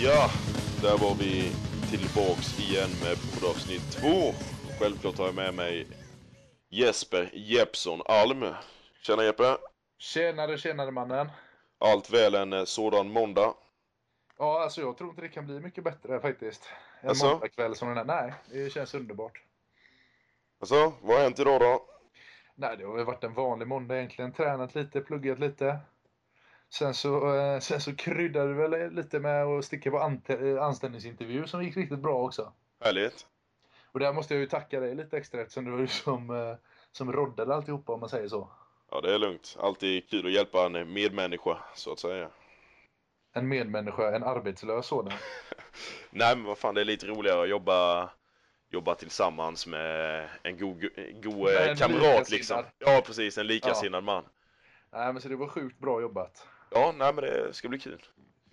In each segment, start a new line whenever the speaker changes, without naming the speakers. Ja, där var vi tillbaks igen med poddavsnitt två. Självklart har jag med mig Jesper Jeppsson Alm. Tjena Jeppe!
Tjenare, tjenare mannen.
Allt väl en eh, sådan måndag?
Ja, alltså jag tror inte det kan bli mycket bättre faktiskt. En
Alltså?
måndagkväll som den här. Nej, det känns underbart.
Alltså, vad har hänt idag då?
Nej, det har ju varit en vanlig måndag egentligen. Tränat lite, pluggat lite. Sen så, eh, sen så kryddade vi väl lite med att sticka på ante- eh, anställningsintervju som gick riktigt bra också.
Härligt!
Och där måste jag ju tacka dig lite extra eftersom det var du som, eh, som roddade alltihopa om man säger så.
Ja, det är lugnt. Alltid kul att hjälpa en medmänniska, så att säga.
En medmänniska, en arbetslös sådan.
Nej, men vad fan, det är lite roligare att jobba, jobba tillsammans med en god, gu- god eh,
Med en
kamrat
likasinnad.
liksom. Ja, precis. En likasinnad man.
Nej, men så det var sjukt bra jobbat.
Ja, nej men det ska bli kul.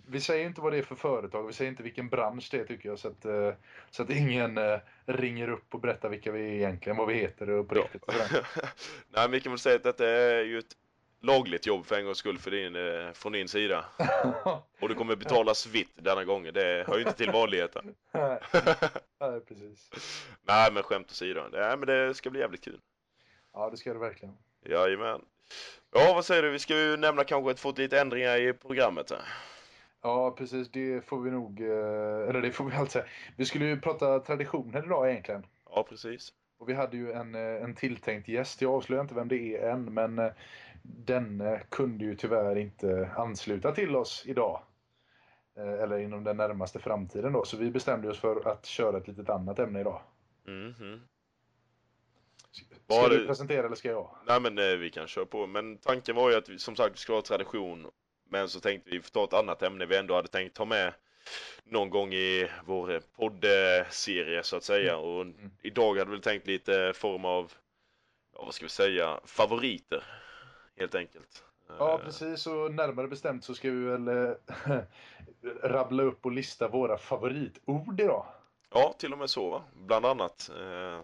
Vi säger inte vad det är för företag, vi säger inte vilken bransch det är tycker jag. Så att, eh, så att ingen eh, ringer upp och berättar vilka vi är egentligen, vad vi heter och på
Ja.
riktigt. och sådär.
Nej, men vi kan väl säga att detta är ju ett lagligt jobb för en gångs skull för din, eh, från din sida. Och du kommer betalas vitt denna gången. Det hör ju inte till vanligheten.
Nej, nej, precis.
Nej, men skämt åsido. Nej, men det ska bli jävligt kul.
Ja, det ska det verkligen.
Jajamän. Ja, vad säger du? Vi ska ju nämna kanske att fått lite ändringar i programmet här.
Ja, precis. Det får vi nog... eh, Eller det får vi alltid säga. Vi skulle ju prata traditioner idag egentligen.
Ja, precis.
Och vi hade ju en, eh, en tilltänkt gäst. Jag avslöjar inte vem det är än, men eh, denne kunde ju tyvärr inte ansluta till oss idag. Eh, Eller inom den närmaste framtiden då. Så vi bestämde oss för att köra ett litet annat ämne idag.
Mhm.
Ska
Var
du
det-
presentera eller ska jag?
Nej, men eh, vi kan köra på. Men tanken var ju att vi, som sagt, vi skulle ha tradition. Men så tänkte vi ta ett annat ämne vi ändå hade tänkt ta med någon gång i vår eh, poddserie så att säga.
Mm.
Och idag hade vi tänkt lite form av, ja vad ska vi säga, favoriter. Helt enkelt.
Ja,
Eh,
precis. Och närmare bestämt så ska vi väl eh, rabbla upp och lista våra favoritord idag.
Ja, till och med så va? Bland annat. Eh,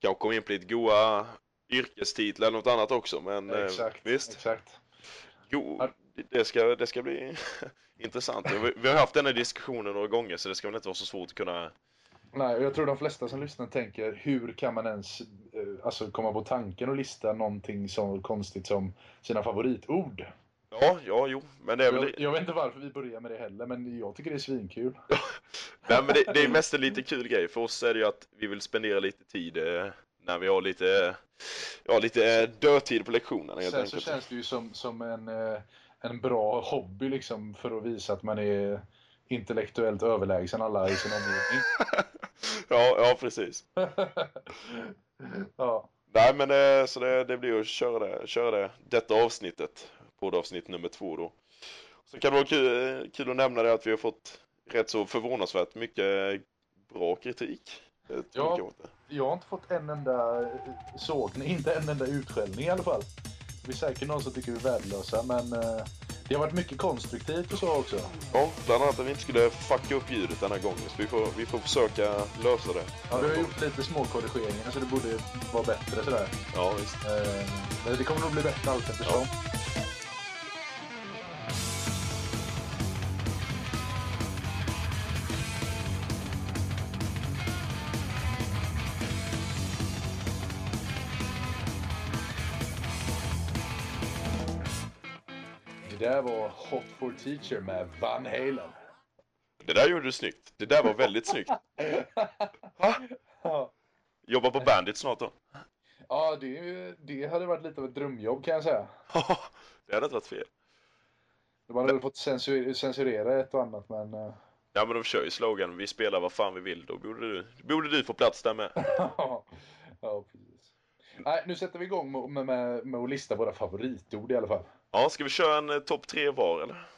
kanske komma in på lite goa yrkestitlar eller något annat också. Men eh,
Exakt.
visst,
Exakt.
jo,
Ja.
det ska, det ska bli intressant. Vi, vi har haft den här diskussionen några gånger så det ska väl inte vara så svårt att kunna...
Nej, och jag tror de flesta som lyssnar tänker hur kan man ens eh, alltså, komma på tanken och lista någonting så konstigt som sina favoritord?
Ja, ja, jo, men det är väl...
Jag, jag vet inte varför vi börjar med det heller, men jag tycker det är svinkul.
Nej, men det, det är mest en lite kul grej. För oss är det ju att vi vill spendera lite tid eh, när vi har lite, ja, lite eh, dödtid på lektionerna helt
Sen så
enkelt.
känns det ju som, som en, eh, en bra hobby liksom, för att visa att man är intellektuellt överlägsen alla i sin omgivning.
Ja, ja, precis.
ja,
Nej men eh, så det, det blir ju att köra det, köra det, detta avsnittet, poddavsnitt nummer två då. Så kan det vara kul, eh, kul att nämna det att vi har fått rätt så förvånansvärt mycket eh, bra kritik. Det tror
Ja.
jag inte.
jag har inte fått en enda eh, sågning, inte en enda utskällning i alla fall. Det är säkert någon som tycker vi är värdelösa, men eh, det har varit mycket konstruktivt och så också.
Ja, bland annat att vi inte skulle fucka upp ljudet denna gången så vi får, vi får försöka lösa det.
Ja, vi har gjort lite små korrigeringar så det borde vara bättre sådär.
Ja, visst.
Eh, Men det kommer nog bli bättre allt eftersom. Det där var Hot for Teacher med Van Halen.
Det där gjorde du snyggt. Det där var väldigt snyggt. Va?
Ja.
Jobba på Bandit snart då.
Ja, det, det hade varit lite av ett drömjobb kan jag säga.
det hade inte varit fel.
De hade väl fått censur- censurera ett och annat men... eh,
Ja men de kör ju slogan vi spelar vad fan vi vill. Då borde du, borde du få plats där med.
ja, precis. Nej, nu sätter vi igång med, med, med, med att lista våra favoritord i alla fall.
Ja, ska vi köra en eh, topp tre var eller?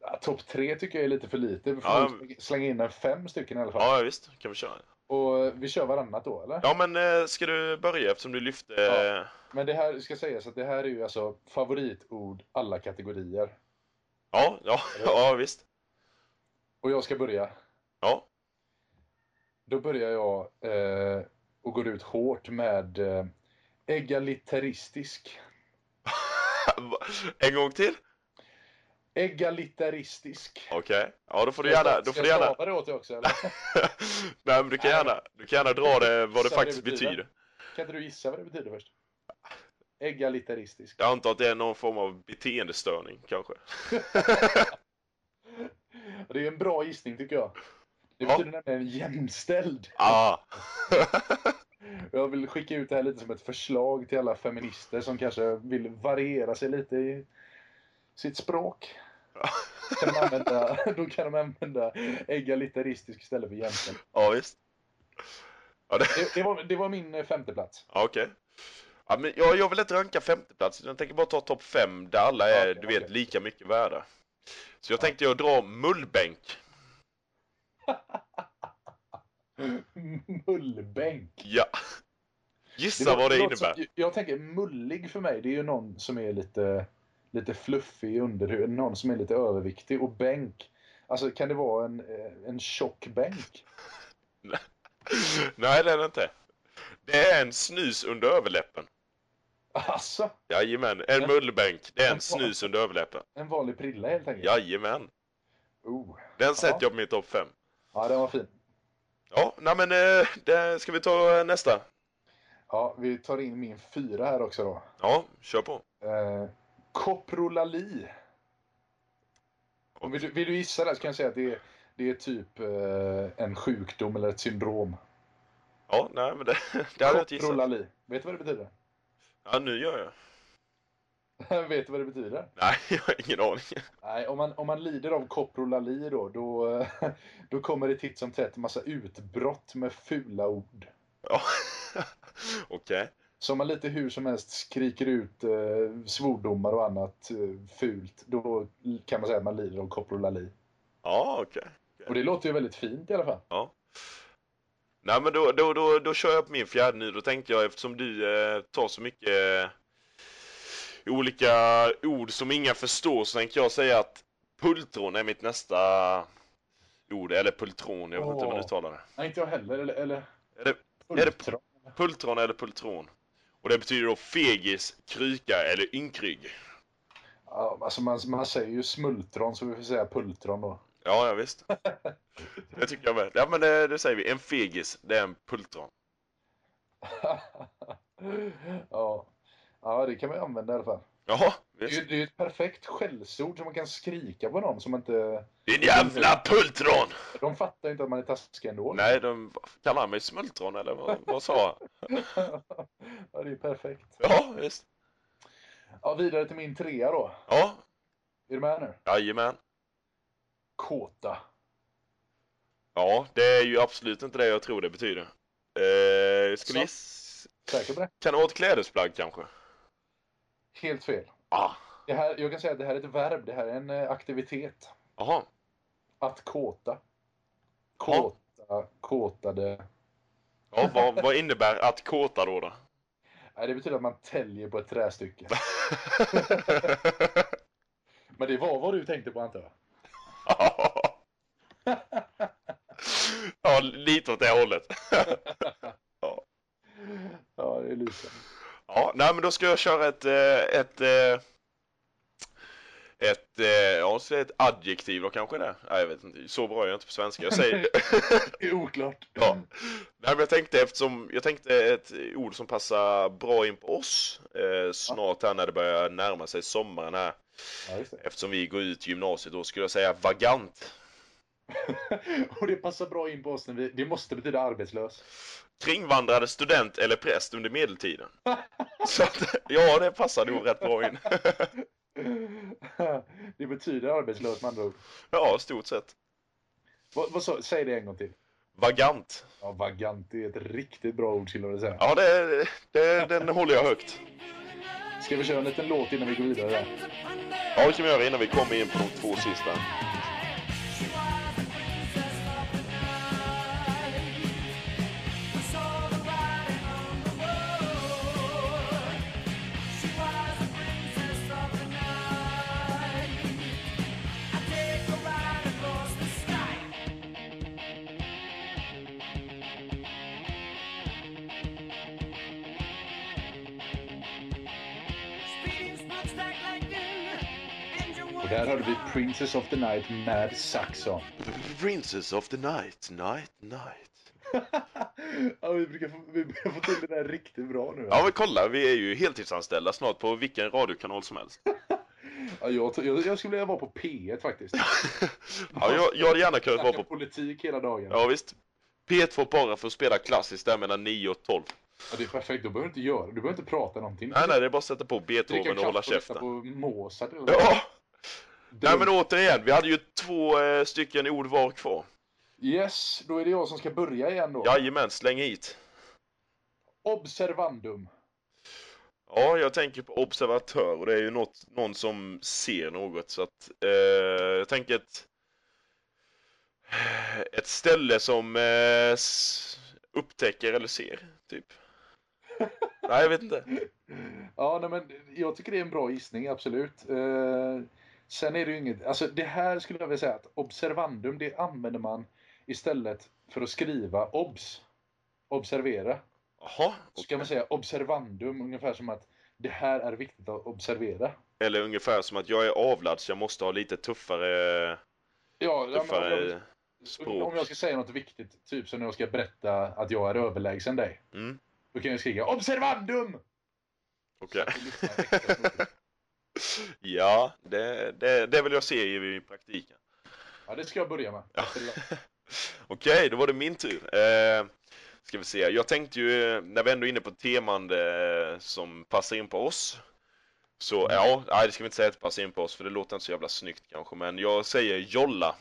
Ja, Topp tre tycker jag är lite för lite. Vi får
Ja.
nog slänga in en fem stycken i alla fall.
Ja, ja, visst. Kan vi köra.
Och eh, vi kör varannat då, eller?
Ja, men eh, ska du börja eftersom du lyfte... eh,
Ja. Men det här ska sägas att det här är ju alltså favoritord alla kategorier.
Ja, ja, ja, visst.
Och jag ska börja.
Ja.
Då börjar jag eh, och går ut hårt med eh, egalitaristisk.
en gång till?
Egalitaristisk.
Okej. Ja, då får du gärna... Då får
Ska
du
jag
gärna...
stava det åt dig också? Eller?
Nej, men du kan gärna, du kan gärna dra det vad det
Gissa
faktiskt
vad det betyder.
betyder.
Kan inte du gissa vad det betyder först? Egalitaristisk.
Jag antar att det är någon form av beteendestörning, kanske.
Och det är en bra gissning tycker jag. Det
Ja.
betyder nämligen jämställd.
Ah!
Jag vill skicka ut det här lite som ett förslag till alla feminister som kanske vill variera sig lite i sitt språk. Kan de använda, då kan de använda egalitaristisk istället för jämställd.
ja, visst. Ja, det...
Det, det, var, det var min eh, femte plats.
Ja, okej. Ja, men jag, jag vill inte ranka femteplatsen, jag tänker bara ta topp fem där alla
Ja,
är,
okej,
du vet,
okej.
lika mycket värda. Så jag
Ja.
tänkte jag dra mullbänk.
Mullbänk.
Ja.
Det
Gissa
låter-
vad det
låter som-
innebär.
jag tänker mullig för mig, det är ju någon som är lite, lite fluffig i underhuden, någon som är lite överviktig. Och bänk, alltså kan det vara en, eh, en tjock bänk?
Nej, det är det inte. Det är en snus under överläppen.
Alltså,
Jajamän, en
Men-
mullbänk. Det är en
Men-
snus under överläppen.
en vanlig prilla helt enkelt.
Jajamän.
Oh.
Den sätter jag på min topp fem.
ja den var fin.
Ja, nej men eh, det, ska vi ta eh, nästa?
Ja, vi tar in min fyra här också då.
Ja, kör på.
Eh, koprolali. Vill du, vill du gissa där så kan jag säga att det är, det är typ eh, en sjukdom eller ett syndrom.
Ja, nej men det, det hade jag inte gissat.
Koprolali. Vet du vad det betyder?
Ja, nu gör jag.
Vet du vad det betyder?
Nej, jag har ingen aning.
Nej, om man, om man lider av koprolali då, då, eh, då kommer det titt som tätt massa utbrott med fula ord.
Ja. Okej.
Så om man lite hur som helst skriker ut eh, svordomar och annat eh, fult, då kan man säga att man lider av koprolali.
Ja, okej.
Och det låter ju väldigt fint i alla fall.
Nej, men då, då, då, då kör jag på min fjärde nu. Då tänkte jag, eftersom du eh, tar så mycket eh, olika ord som inga förstår, så tänkte jag säga att pultron är mitt nästa ord. Eller pultron, jag vet inte hur man
Åh.
uttalar det.
Nej, inte jag heller. Eller, eller...
Är det- är det- Pultron eller pultron. Och det betyder då fegis, kryka eller ynkrygg.
Ja, alltså man, man säger ju smultron, så vi får säga pultron då.
Ja, ja visst. Det tycker jag med. Ja, men det, det säger vi. En fegis, det är en pultron.
ja. ja, det kan man ju använda i alla fall.
Jaha,
Det är
visst.
ju- det är ju ett perfekt skällsord som man kan skrika på någon som inte...
Din jävla pultron!
De fattar ju inte att man är taskig ändå.
Nej, de kallar han mig smultron eller vad, vad sa han?
ja, det är perfekt.
Ja, visst.
Ja, vidare till min trea då.
Ja,
Är du med nu?
jajamän.
Kåta.
Ja, det är ju absolut inte det jag tror det betyder. Eh, skulle giss...
Säker på det?
Kan det vara ett klädesplagg kanske?
Helt fel.
Ah,
Det här, jag kan säga att det här är ett verb, det här är en eh, aktivitet.
jaha.
Att kåta. Kåta, kåtade.
Ja, vad, vad innebär att kåta då då?
Nej, det betyder att man täljer på ett trästycke. Men det var vad du tänkte på antar jag?
ja, lite åt det hållet.
Ja, det är lite.
Ja, nej men då ska jag köra ett, eh, ett, eh, ett, eh, ja, så ett adjektiv då kanske det. Nej, jag vet inte, så bra är jag inte på svenska. Jag säger,
Det är oklart.
Ja. nej men jag tänkte eftersom, jag tänkte ett ord som passar bra in på oss eh, snart här när det börjar närma sig sommaren här.
Ja, just det.
Eftersom vi går ut gymnasiet då skulle jag säga vagant,
Och det passar bra in på oss när vi... Det måste betyda arbetslös.
kringvandrade student eller präst under medeltiden. Så att, ja, det passar nog rätt bra in.
Det betyder arbetslös med andra ord.
Ja, stort sett.
Vad, vad sa, säg det en gång till.
Vagant.
Ja, vagant det är ett riktigt bra ord skulle jag vilja säga.
Ja, det, det, den håller jag högt.
Ska vi köra en liten låt innan vi går vidare? Där?
Ja, det kan vi göra innan vi kommer in på de två sista.
Speeding smokestack lightning, and you
Och där hörde vi Princess of the Night med Saxon.
Princess of the night, night, night.
ja, vi brukar, få, vi brukar få till det där riktigt bra nu.
Ja men kolla, vi är ju heltidsanställda snart på vilken radiokanal som helst.
Ja, jag, tror- jag, jag skulle vilja vara på P1 faktiskt.
Ja, jag, jag hade gärna kunnat vara
Snacka
på...
politik hela dagen. Ja.
Ja visst. P2 bara för att spela klassiskt där mellan 9 och 12.
det är perfekt, då behöver du inte göra Du behöver inte prata någonting.
Nej nej, det är bara att sätta på
Dricka
Beethoven och
kaffe
hålla
och lyssna
käften.
på Mozart. eller-
Ja! Nej
Dröm-
men återigen, vi hade ju två eh, stycken ord var kvar.
Yes, då är det jag som ska börja igen då.
Jajamän, släng hit.
Observandum.
Ja, jag tänker på observatör och det är ju något, någon som ser något så att eh, jag tänker ett, ett ställe som eh, s- upptäcker eller ser, typ. Nej, jag vet inte.
Ja, nej, men jag tycker det är en bra gissning, absolut. Eh, sen är det ju inget... Alltså det här skulle jag vilja säga att observandum, det använder man istället för att skriva obs. Observera.
Jaha,
Så kan man säga observandum, ungefär som att det här är viktigt att observera.
eller ungefär som att jag är avlad så jag måste ha lite tuffare,
Ja, ja, men om,
tuffare
jag, om- om
språk.
jag ska säga något viktigt, typ som när jag ska berätta att jag är överlägsen dig.
Mm,
Då kan jag skrika observandum! Så
okej.
att du lyssnar extra noga.
Ja, det, det, det vill jag se i, i praktiken.
Ja, det ska jag börja med.
Ja. Okej, då var det min tur. Eh, ska vi se. Jag tänkte ju, eh, när vi ändå är inne på teman eh, som passar in på oss. Så ja, nej det ska vi inte säga att det passar in på oss för det låter inte så jävla snyggt kanske. Men jag säger jolla.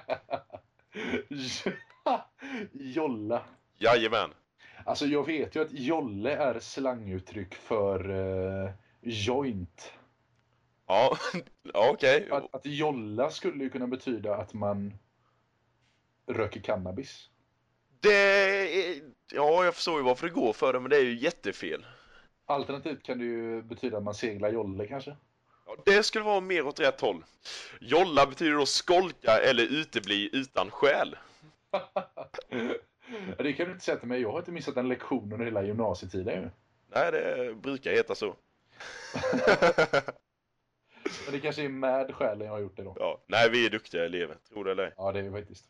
Jolla.
Jajamän.
Alltså jag vet ju att jolle är slanguttryck för eh, joint.
Ja, ja okej.
Att, att jolla skulle ju kunna betyda att man röker cannabis.
Det är, ja jag förstår ju varför det går för det men det är ju jättefel.
Alternativt kan det ju betyda att man seglar jolle kanske.
Ja, det skulle vara mer åt rätt håll. Jolla betyder då skolka eller utebli utan skäl.
Ja, Det kan du inte säga till mig, jag har inte missat en lektion under hela gymnasietiden ju.
Nej, det brukar heta så.
Men det kanske är med skälen jag har gjort det då.
Ja, nej vi är duktiga elever, tror det eller ej.
Ja, det är ju faktiskt.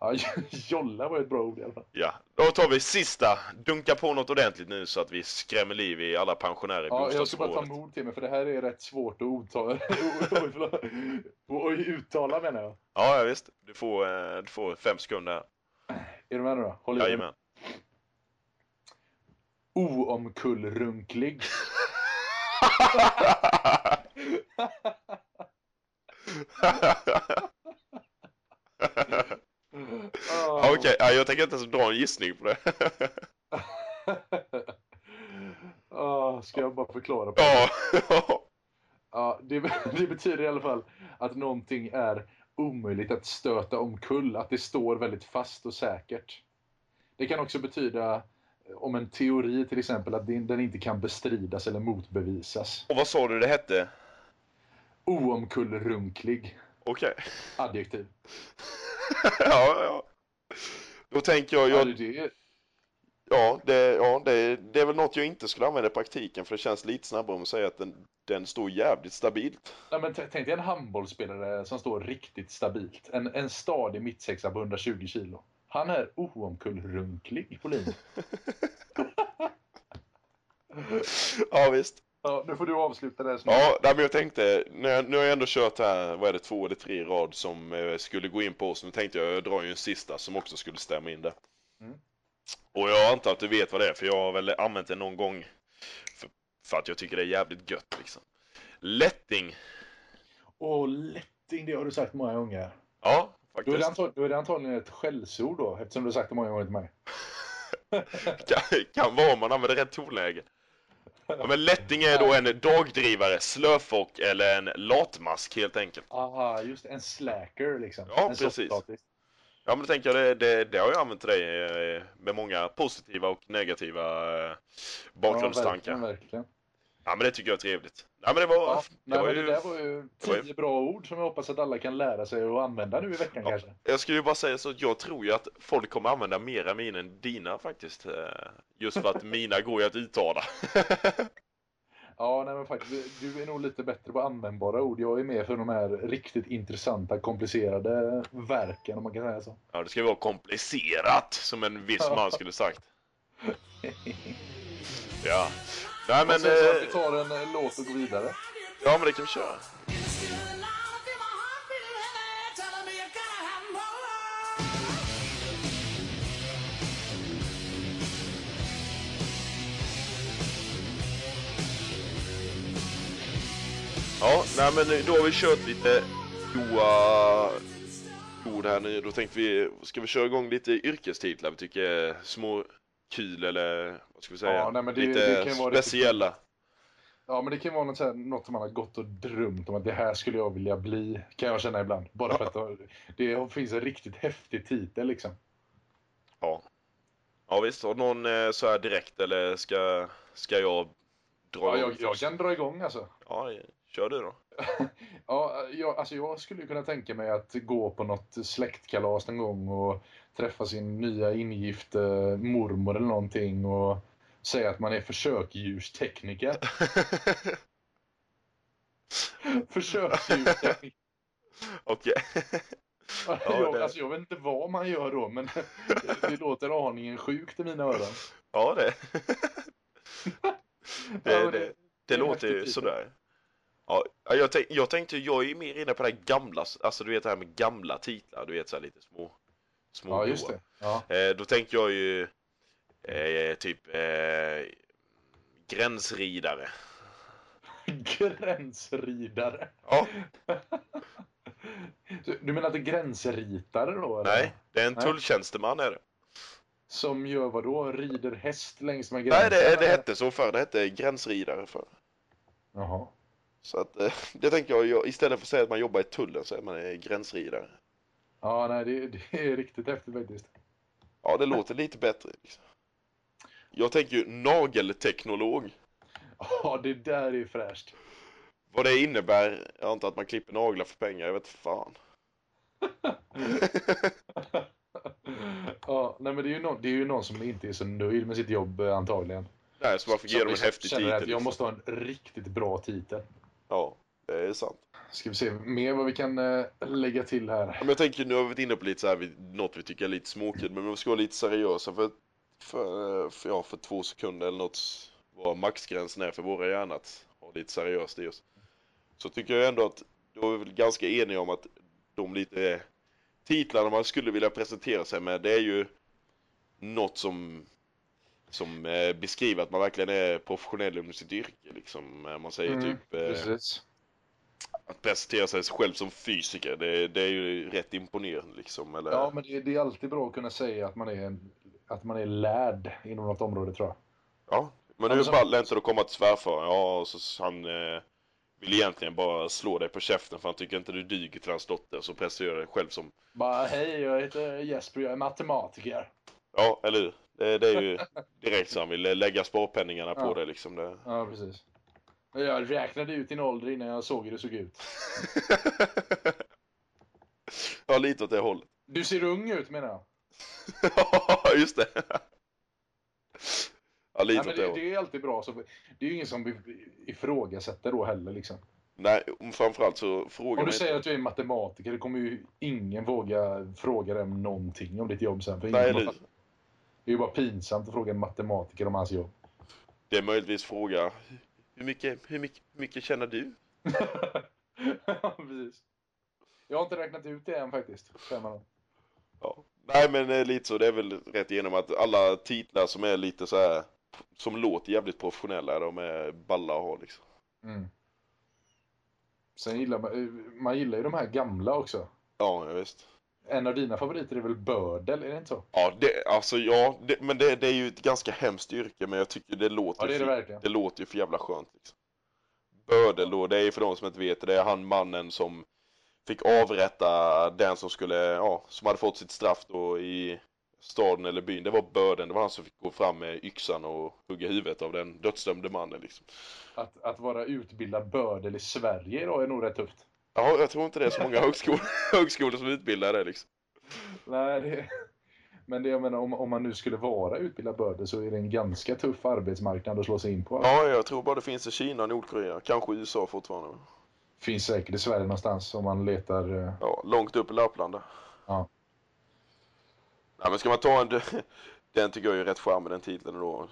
Ja, jolla var ju ett bra ord i alla fall.
Ja, då tar vi sista. Dunka på något ordentligt nu så att vi skrämmer liv i alla pensionärer i
Ja, jag ska bara ta
bostadsområdet.
mod till mig för det här är rätt svårt att uttala. Oj, förlåt. Och uttala menar jag.
Ja, ja, visst. Du får, eh, du får fem sekunder här.
Är du med nu då? Håll i dig.
Jajamän.
Oomkullrunklig.
Ja, Okej, ja, jag tänker inte ens dra en gissning på det.
Ah, ska jag bara förklara? På?
Ja,
Ja, det, det betyder i alla fall att någonting är omöjligt att stöta omkull, att det står väldigt fast och säkert. Det kan också betyda eh, om en teori till exempel, att den den inte kan bestridas eller motbevisas.
och vad sa du det hette?
Oomkullrunklig.
Okej.
Adjektiv.
ja, ja. Då tänker jag,
Ja,
jag
det, det,
Ja, det, ja det, det är väl något jag inte skulle använda i praktiken för det känns lite snabbare om att säga att den, den står jävligt stabilt.
nej, men t- tänk dig en handbollsspelare som står riktigt stabilt. En, en stadig mittsexa på 120 kilo. Han är oomkullrunklig på linjen.
Ja, visst.
Ja, nu får du avsluta det här snart.
Ja, nej, men jag tänkte, nu, har- nu har jag ändå kört här, vad är det, två eller tre rad som eh, skulle gå in på oss. Nu tänkte jag, jag drar ju en sista som också skulle stämma in där.
Mm.
Och jag antar att du vet vad det är, för jag har väl använt det någon gång. För, för att jag tycker det är jävligt gött liksom. Lätting.
Åh, lätting, det har du sagt många gånger.
Ja,
Då är, det
faktiskt.
antagligen, då är det antagligen ett skällsord då, eftersom du har sagt det många gånger till mig.
Kan, kan vara om man använder rätt tonläge. Ja, men lätting är då en dagdrivare, slöfock eller en latmask helt enkelt.
Aha, just det, en slacker liksom.
Ja,
en
precis.
soffpotatis.
Ja men då tänker jag, det, det, det har jag använt till dig eh, med många positiva och negativa eh, bakgrundstankar.
Ja,
Ja,
verkligen, verkligen.
men det tycker jag är trevligt. Ja men det var,
Ja,
det
nej,
var
men det
ju,
där var ju
var ju-
tio bra ord som jag hoppas att alla kan lära sig och använda nu i veckan
Ja.
kanske.
jag skulle ju bara säga så att jag tror ju att folk kommer använda mera min än dina faktiskt. eh, Just för att mina går ju att uttala.
Ja, nej men faktiskt. Du är nog lite bättre på användbara ord. Jag är mer för de här riktigt intressanta, komplicerade verken, om man kan säga så.
Ja, det ska ju vara komplicerat, som en viss man skulle sagt. Ja. Nej men...
Men, sen så att vi
eh,
tar en eh, låt och går vidare.
Ja men det kan vi köra. Ja, nej men eh, då har vi kört lite goa ord här nu. Då tänkte vi, ska vi köra igång lite yrkestitlar vi tycker är små kul eller vad ska vi säga?
Ja, nej, men det-
lite
det kan ju vara riktigt-
speciella.
Ja, men det kan vara något, så här, något som man har gått och drömt om att det här skulle jag vilja bli. Kan jag känna ibland. Bara för att det finns en riktigt häftig titel liksom.
Ja. Ja visst, har någon eh, så här direkt eller ska, ska jag dra
Ja,
igång
jag, jag
först?
kan dra igång alltså.
Ja, eh, kör du då.
Ja, jag, alltså jag skulle ju kunna tänka mig att gå på något släktkalas någon gång och träffa sin nya ingifte mormor eller någonting och säga att man är försökdjurstekniker. Försöksdjurstekniker.
Okej.
jag,
det-
alltså jag vet inte vad man gör då, men det, det låter aningen sjukt i mina öron.
Ja det. det,
Ja, men
det,
det-
det,
det är
låter ju
häftigt.
sådär. Ja, ja, jag, tänk, jag tänkte ju- jag är ju mer inne på det här gamla, alltså du vet det här med gamla titlar, du vet såhär lite små, små
Ja, just
goa.
det. Ja.
Eh, då tänkte jag ju eh, typ eh, gränsridare.
Gränsridare.
Ja,
Du- Du menar inte gränsritare då? eller?
nej, det är en
Nej.
tulltjänsteman är det.
Som gör vad då? Rider häst längs med
Nej,
gränsen?
det, det
eller?
hette så förr, det hette gränsridare förr.
Jaha.
Så att, eh, det tänker jag, jag, istället för att säga att man jobbar i tullen så är man eh, gränsridare.
Ja, nej, det, det är riktigt häftigt faktiskt.
Ja, det låter lite bättre. Liksom. Jag tänker ju nagelteknolog.
Ja, det där är fräscht.
Vad det innebär, jag antar att man klipper naglar för pengar, jag vet fan.
Ja, nej, men det är, ju någon, det är ju någon som inte är så nöjd med sitt jobb eh, antagligen.
Nej, så man får ge
Som
dem en
liksom
häftig
känner
titel.
Att jag
liksom.
måste ha en riktigt bra titel.
Ja, det är sant.
Ska vi se mer vad vi kan eh, lägga till här.
Ja, Men jag tänker, nu har vi varit inne på lite så här, vid- något vi tycker är lite småkul, men vi ska vara lite seriösa för, för, eh, för, ja, för två sekunder eller något, vad maxgränsen är för våra hjärnor att ha lite seriöst i oss. Så tycker jag ändå att, då är vi väl ganska eniga om att de lite eh, titlarna man skulle vilja presentera sig med, det är ju något som, som eh, beskriver att man verkligen är professionell inom sitt yrke liksom. Eh, Man säger
Mm,
typ eh,
Precis.
att presentera sig själv som fysiker, det, det är ju rätt imponerande liksom. Eller,
Ja, men det, det är alltid bra att kunna säga att man är, en, att man är lärd inom något område, tror jag.
Ja, men
Ja,
nu
men
är
så-
ballt inte att komma till svärfaren. Ja, och så han eh, vill egentligen bara slå dig på käften för han tycker inte du duger till hans dotter. Så presenterar du dig själv som...
Bara, hej, jag heter Jesper, jag är matematiker.
Ja, eller hur? Det, det är ju direkt så han vill eh, lägga sparpenningarna på
Ja.
dig liksom. Det.
Ja, precis. Jag räknade ut din ålder innan jag såg hur du såg ut.
ja, lite åt det hållet.
Du ser ung ut, menar jag.
Ja, just det. Ja, lite
Nej,
åt
men
det
det,
hållet.
det är alltid bra. Så det är ju ingen som ifrågasätter då heller. Liksom.
Nej, om- framförallt så frågar
Om du
man inte.
säger att du är matematiker, det kommer ju ingen våga fråga dig om någonting om ditt jobb sen. För
Nej,
ingen-
eller hur?
det är ju bara pinsamt att fråga en matematiker om hans jobb.
Det är möjligtvis fråga. Hur mycket, hur mycket, hur mycket känner du?
Ja, precis. Jag har inte räknat ut det än faktiskt. Fem år.
Ja. Nej men eh, lite så, det är väl rätt igenom att alla titlar som är lite så här som låter jävligt professionella, de är balla att ha liksom.
Mm. Sen gillar man, man gillar ju de här gamla också.
Ja, ja, visst.
En av dina favoriter är väl bördel, är det inte så?
Ja, det, alltså ja, det, men det, det är ju ett ganska hemskt yrke, men jag tycker det låter
Ja, det
ju
är det
för,
verkligen.
det låter ju för jävla skönt liksom. Bödel då, det är ju för de som inte vet, det är han mannen som fick avrätta den som skulle, ja, som hade fått sitt straff då i staden eller byn. Det var böden, det var han som fick gå fram med yxan och hugga huvudet av den dödsdömde mannen liksom.
Att, att vara utbildad bördel i Sverige idag är nog rätt tufft.
Ja, jag tror inte det är så många högskolor, högskolor som utbildar det liksom.
Nej, det, Men det jag menar, om, om man nu skulle vara utbildad bönder så är det en ganska tuff arbetsmarknad att slå sig in på.
Ja, jag tror bara det finns i Kina och Nordkorea. Kanske USA fortfarande.
Finns säkert i Sverige någonstans om man letar. eh,
Ja, långt upp i Lappland där.
Ja.
Nej, men ska man ta en... Den tycker jag är rätt charmig den titeln då.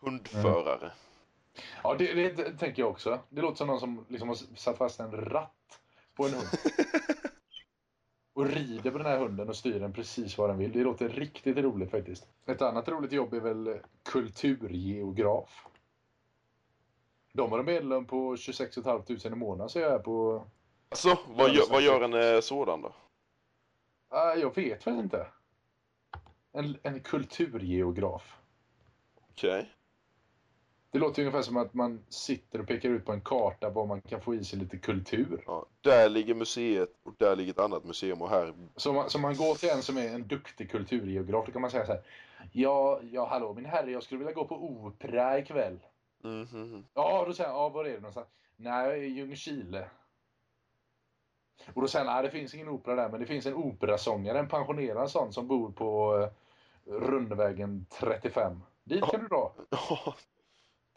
Hundförare.
Ja, det, det, det tänker jag också. Det låter som någon som liksom har satt fast en ratt på en hund. Och rider på den här hunden och styr den precis vad den vill. Det låter riktigt roligt faktiskt. Ett annat roligt jobb är väl kulturgeograf. De har en medlem på 26 500 i månaden så jag är på...
Alltså, vad gör, vad gör en eh, sådan då?
Ah, jag vet faktiskt inte. En, en kulturgeograf.
Okej.
Det låter ungefär som att man sitter och pekar ut på en karta var man kan få i sig lite kultur.
Ja, där ligger museet och där ligger ett annat museum och här...
Så man, så man går till en som är en duktig kulturgeograf, då kan man säga så här. Ja, ja hallå min herre, jag skulle vilja gå på opera ikväll.
Mhm.
Ja, då säger han, ja, var är det någonstans? Nej, i Ljungskile. Och då säger han, nej det finns ingen opera där, men det finns en operasångare, en pensionerad sån som bor på eh, Rundvägen 35. Dit kan du dra.
Ja,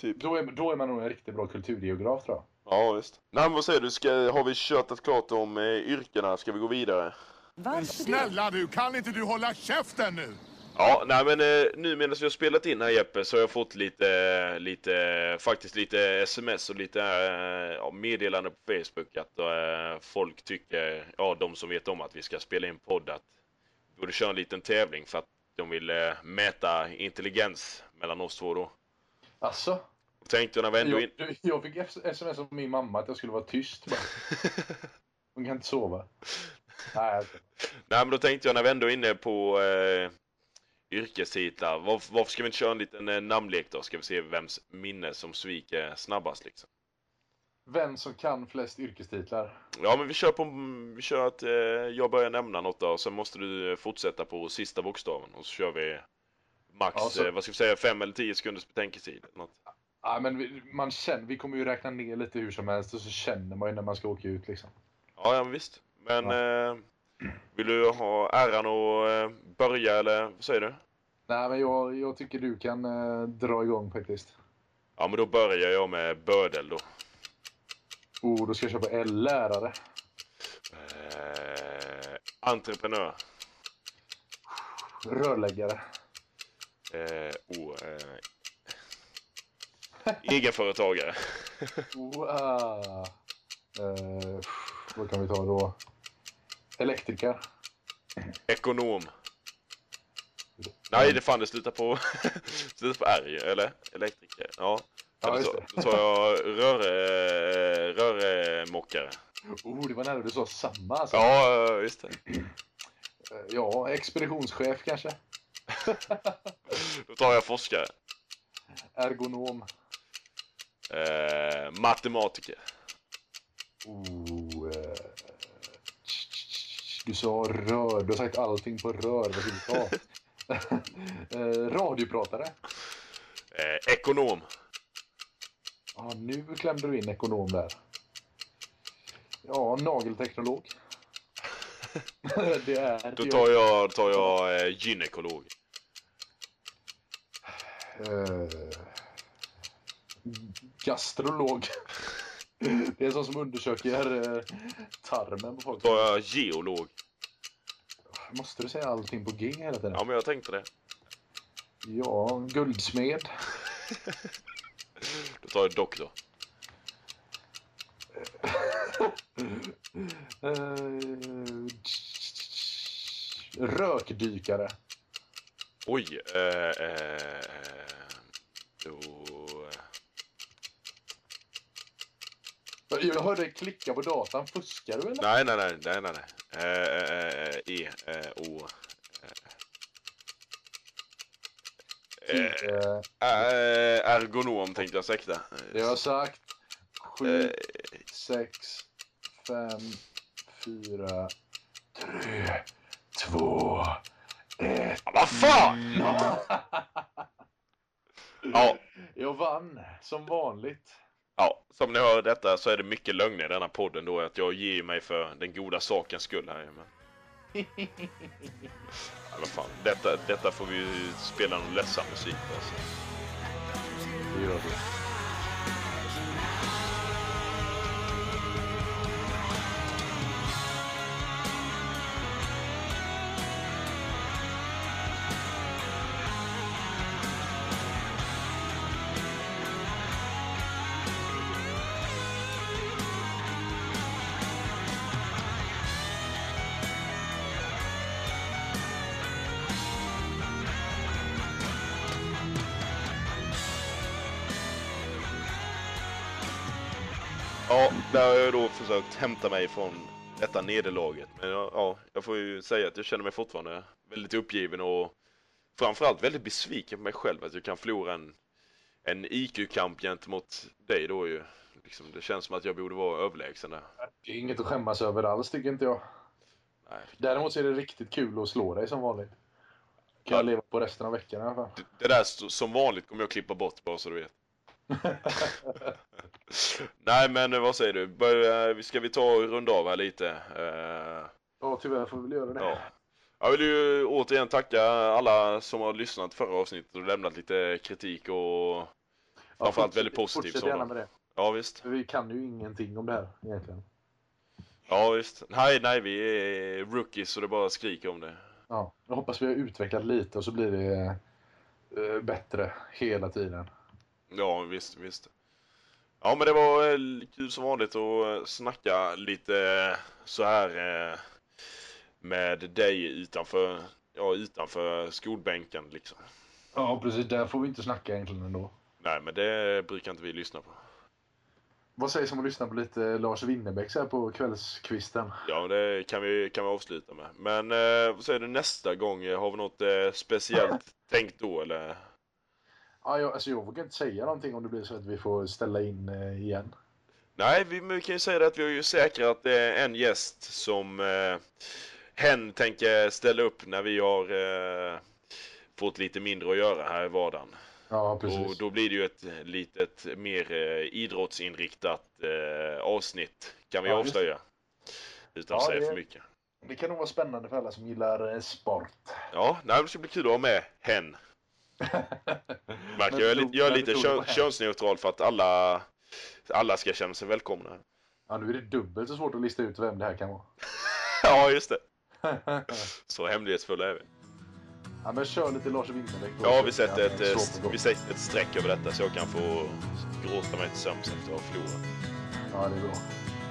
typ.
Då är, då är man nog en riktigt bra kulturgeograf tror jag.
Ja, visst. Nej, men vad säger du? Ska, har vi köttat klart om eh, yrkena? Ska vi gå vidare?
Men
Varför det?
snälla du, kan inte du hålla käften nu?
Ja, nej men eh, nu medan vi har spelat in här Jeppe så har jag fått lite, lite, faktiskt lite sms och lite eh, ja, meddelande på Facebook att eh, folk tycker, ja de som vet om att vi ska spela in podd att vi borde köra en liten tävling för att de vill eh, mäta intelligens mellan oss två då.
Alltså,
Och Tänkte jag när vi ändå
jag,
in...
jag fick f- sms av min mamma att jag skulle vara tyst. bara. Hon kan inte sova. Nej, alltså.
Nej men då tänkte jag när vi ändå är inne på eh, yrkestitlar, varför, varför ska vi inte köra en liten eh, namnlek då? Ska vi se vems minne som sviker snabbast liksom.
Vem som kan flest yrkestitlar?
Ja, men vi kör på, vi kör att eh, jag börjar nämna något då, och sen måste du eh, fortsätta på sista bokstaven och så kör vi max,
Ja, så-
eh, vad ska vi säga, fem eller tio sekunders betänketid. eller Något.
Ja, men vi, man känner, vi kommer ju räkna ner lite hur som helst och så känner man ju när man ska åka ut. Liksom.
Ja, ja, men visst. Men eh, vill du ha äran att eh, börja eller vad säger du?
Nej, men jag, jag tycker du kan eh, dra igång faktiskt.
Ja, men då börjar jag med bödel då.
Oh, då ska jag köpa L, lärare.
Eh, entreprenör.
Rörläggare.
Eh, oh, eh, egenföretagare.
Wow. Oh, ah. Eh, vad kan vi ta då? Elektriker.
Ekonom. Nej, det fan det slutar på, slutar på R, eller? Elektriker. Ja.
Ja,
då,
just
tar,
det.
då tar jag rör, eh, rörmockare.
Oh, det var nära du sa samma. Alltså. Ja.
Ja, eh, just det.
ja, expeditionschef kanske.
Då tar jag forskare.
Ergonom.
Eh, matematiker.
Oh, eh, tsch, tsch, tsch. du sa rör. Du har sagt allting på rör. Vad ska vi ta? eh, radiopratare.
Eh, ekonom.
Ja, nu klämde du in ekonom där. Ja, nagelteknolog. det är
Då tar jag, då tar jag eh, gynekolog.
Eh, gastrolog. det är en sån som undersöker eh, tarmen på folk.
Då tar jag geolog.
Måste du säga allting på G hela tiden?
Ja, men jag tänkte det.
Ja, guldsmed.
Då tar jag doktor.
Eh, rökdykare.
Oj. Eh, eh, då...
Jag hörde dig klicka på datan. Fuskar du eller?
Nej, nej, nej, nej, nej, nej. Eh, eh, eh, E, eh, O. Eh,
Eh,
eh, ergonom tänkte jag säkta.
det har jag sagt. Sju,
Eh,
sex, fem, fyra, tre, två, ett.
vad fan! Ja,
Jag vann, som vanligt.
ja, som ni hör detta så är det mycket lögner i denna podden då att jag ger mig för den goda sakens skull här. Men Ja, vad fan. Detta, detta får vi ju spela någon ledsam musik på. Alltså.
Det gör vi.
Ja, där har jag då försökt hämta mig från detta nederlaget. Men jag, ja, jag får ju säga att jag känner mig fortfarande väldigt uppgiven och framförallt väldigt besviken på mig själv att jag kan förlora en, en IQ-kamp gentemot dig då ju. Liksom, det känns som att jag borde vara överlägsen där.
Det är inget att skämmas över alls, tycker inte jag.
Nej.
Däremot så är det riktigt kul att slå dig som vanligt. Kan jag leva på resten av veckan i alla fall.
Det där st- som vanligt kommer jag klippa bort bara så du vet. Nej men eh, vad säger du? Börja, vi- ska vi ta och runda av här lite? Eh,
Ja, tyvärr får vi väl göra det.
Ja. Jag vill ju återigen tacka alla som har lyssnat förra avsnittet och lämnat lite kritik och framförallt väldigt positiv
Fortsätt gärna
sådan.
med det.
Ja visst.
För vi kan ju ingenting om det här egentligen.
Ja visst. Nej, nej, vi är rookies så det bara skriker om det.
Ja, jag hoppas vi har utvecklat lite och så blir det eh, bättre hela tiden.
Ja visst, visst. Ja men det var eh, kul som vanligt att eh, snacka lite eh, så här eh, med dig utanför, ja, utanför skolbänken liksom.
Ja, precis. Där får vi inte snacka egentligen ändå.
Nej men det brukar inte vi lyssna på.
Vad sägs om att lyssna på lite Lars Winnerbäck så här på kvällskvisten?
Ja, det kan vi, kan vi avsluta med. Men eh, vad säger du nästa gång? Har vi något eh, speciellt tänkt då eller?
Ja, jag, alltså jag vågar inte säga någonting om det blir så att vi får ställa in eh, igen.
Nej, vi, men vi kan ju säga det att vi har ju säkrat eh, en gäst som eh, hen tänker ställa upp när vi har eh, fått lite mindre att göra här i vardagen.
Ja, precis.
Och då blir det ju ett litet mer eh, idrottsinriktat eh, avsnitt kan vi
Ja, just det.
avslöja. Utan att
Ja,
säga
det-
för mycket.
Det kan nog vara spännande för alla som gillar eh, sport.
Ja, nej, men det ska bli kul att ha med hen. Märker, jag är, li- jag är lite kön, könsneutral för att alla, alla ska känna sig välkomna.
Ja, nu är det dubbelt så svårt att lista ut vem det här kan vara.
Ja, just det. Så hemlighetsfulla är vi.
ja, men kör lite Lars Winnerbäck. då.
Ja, vi sätter ett,
Ja,
eh,
så på gång.
vi sätter ett streck över detta så jag kan få gråta mig till sömns efter att ha förlorat.
Ja, det är bra.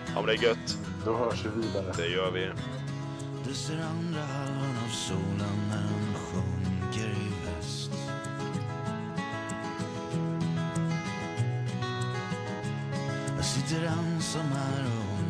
Ja, men det är gött.
Då hörs vi vidare.
Det gör vi.
Du ser andra halvan av solen när den sjunker i väst. Jag sitter ensam här och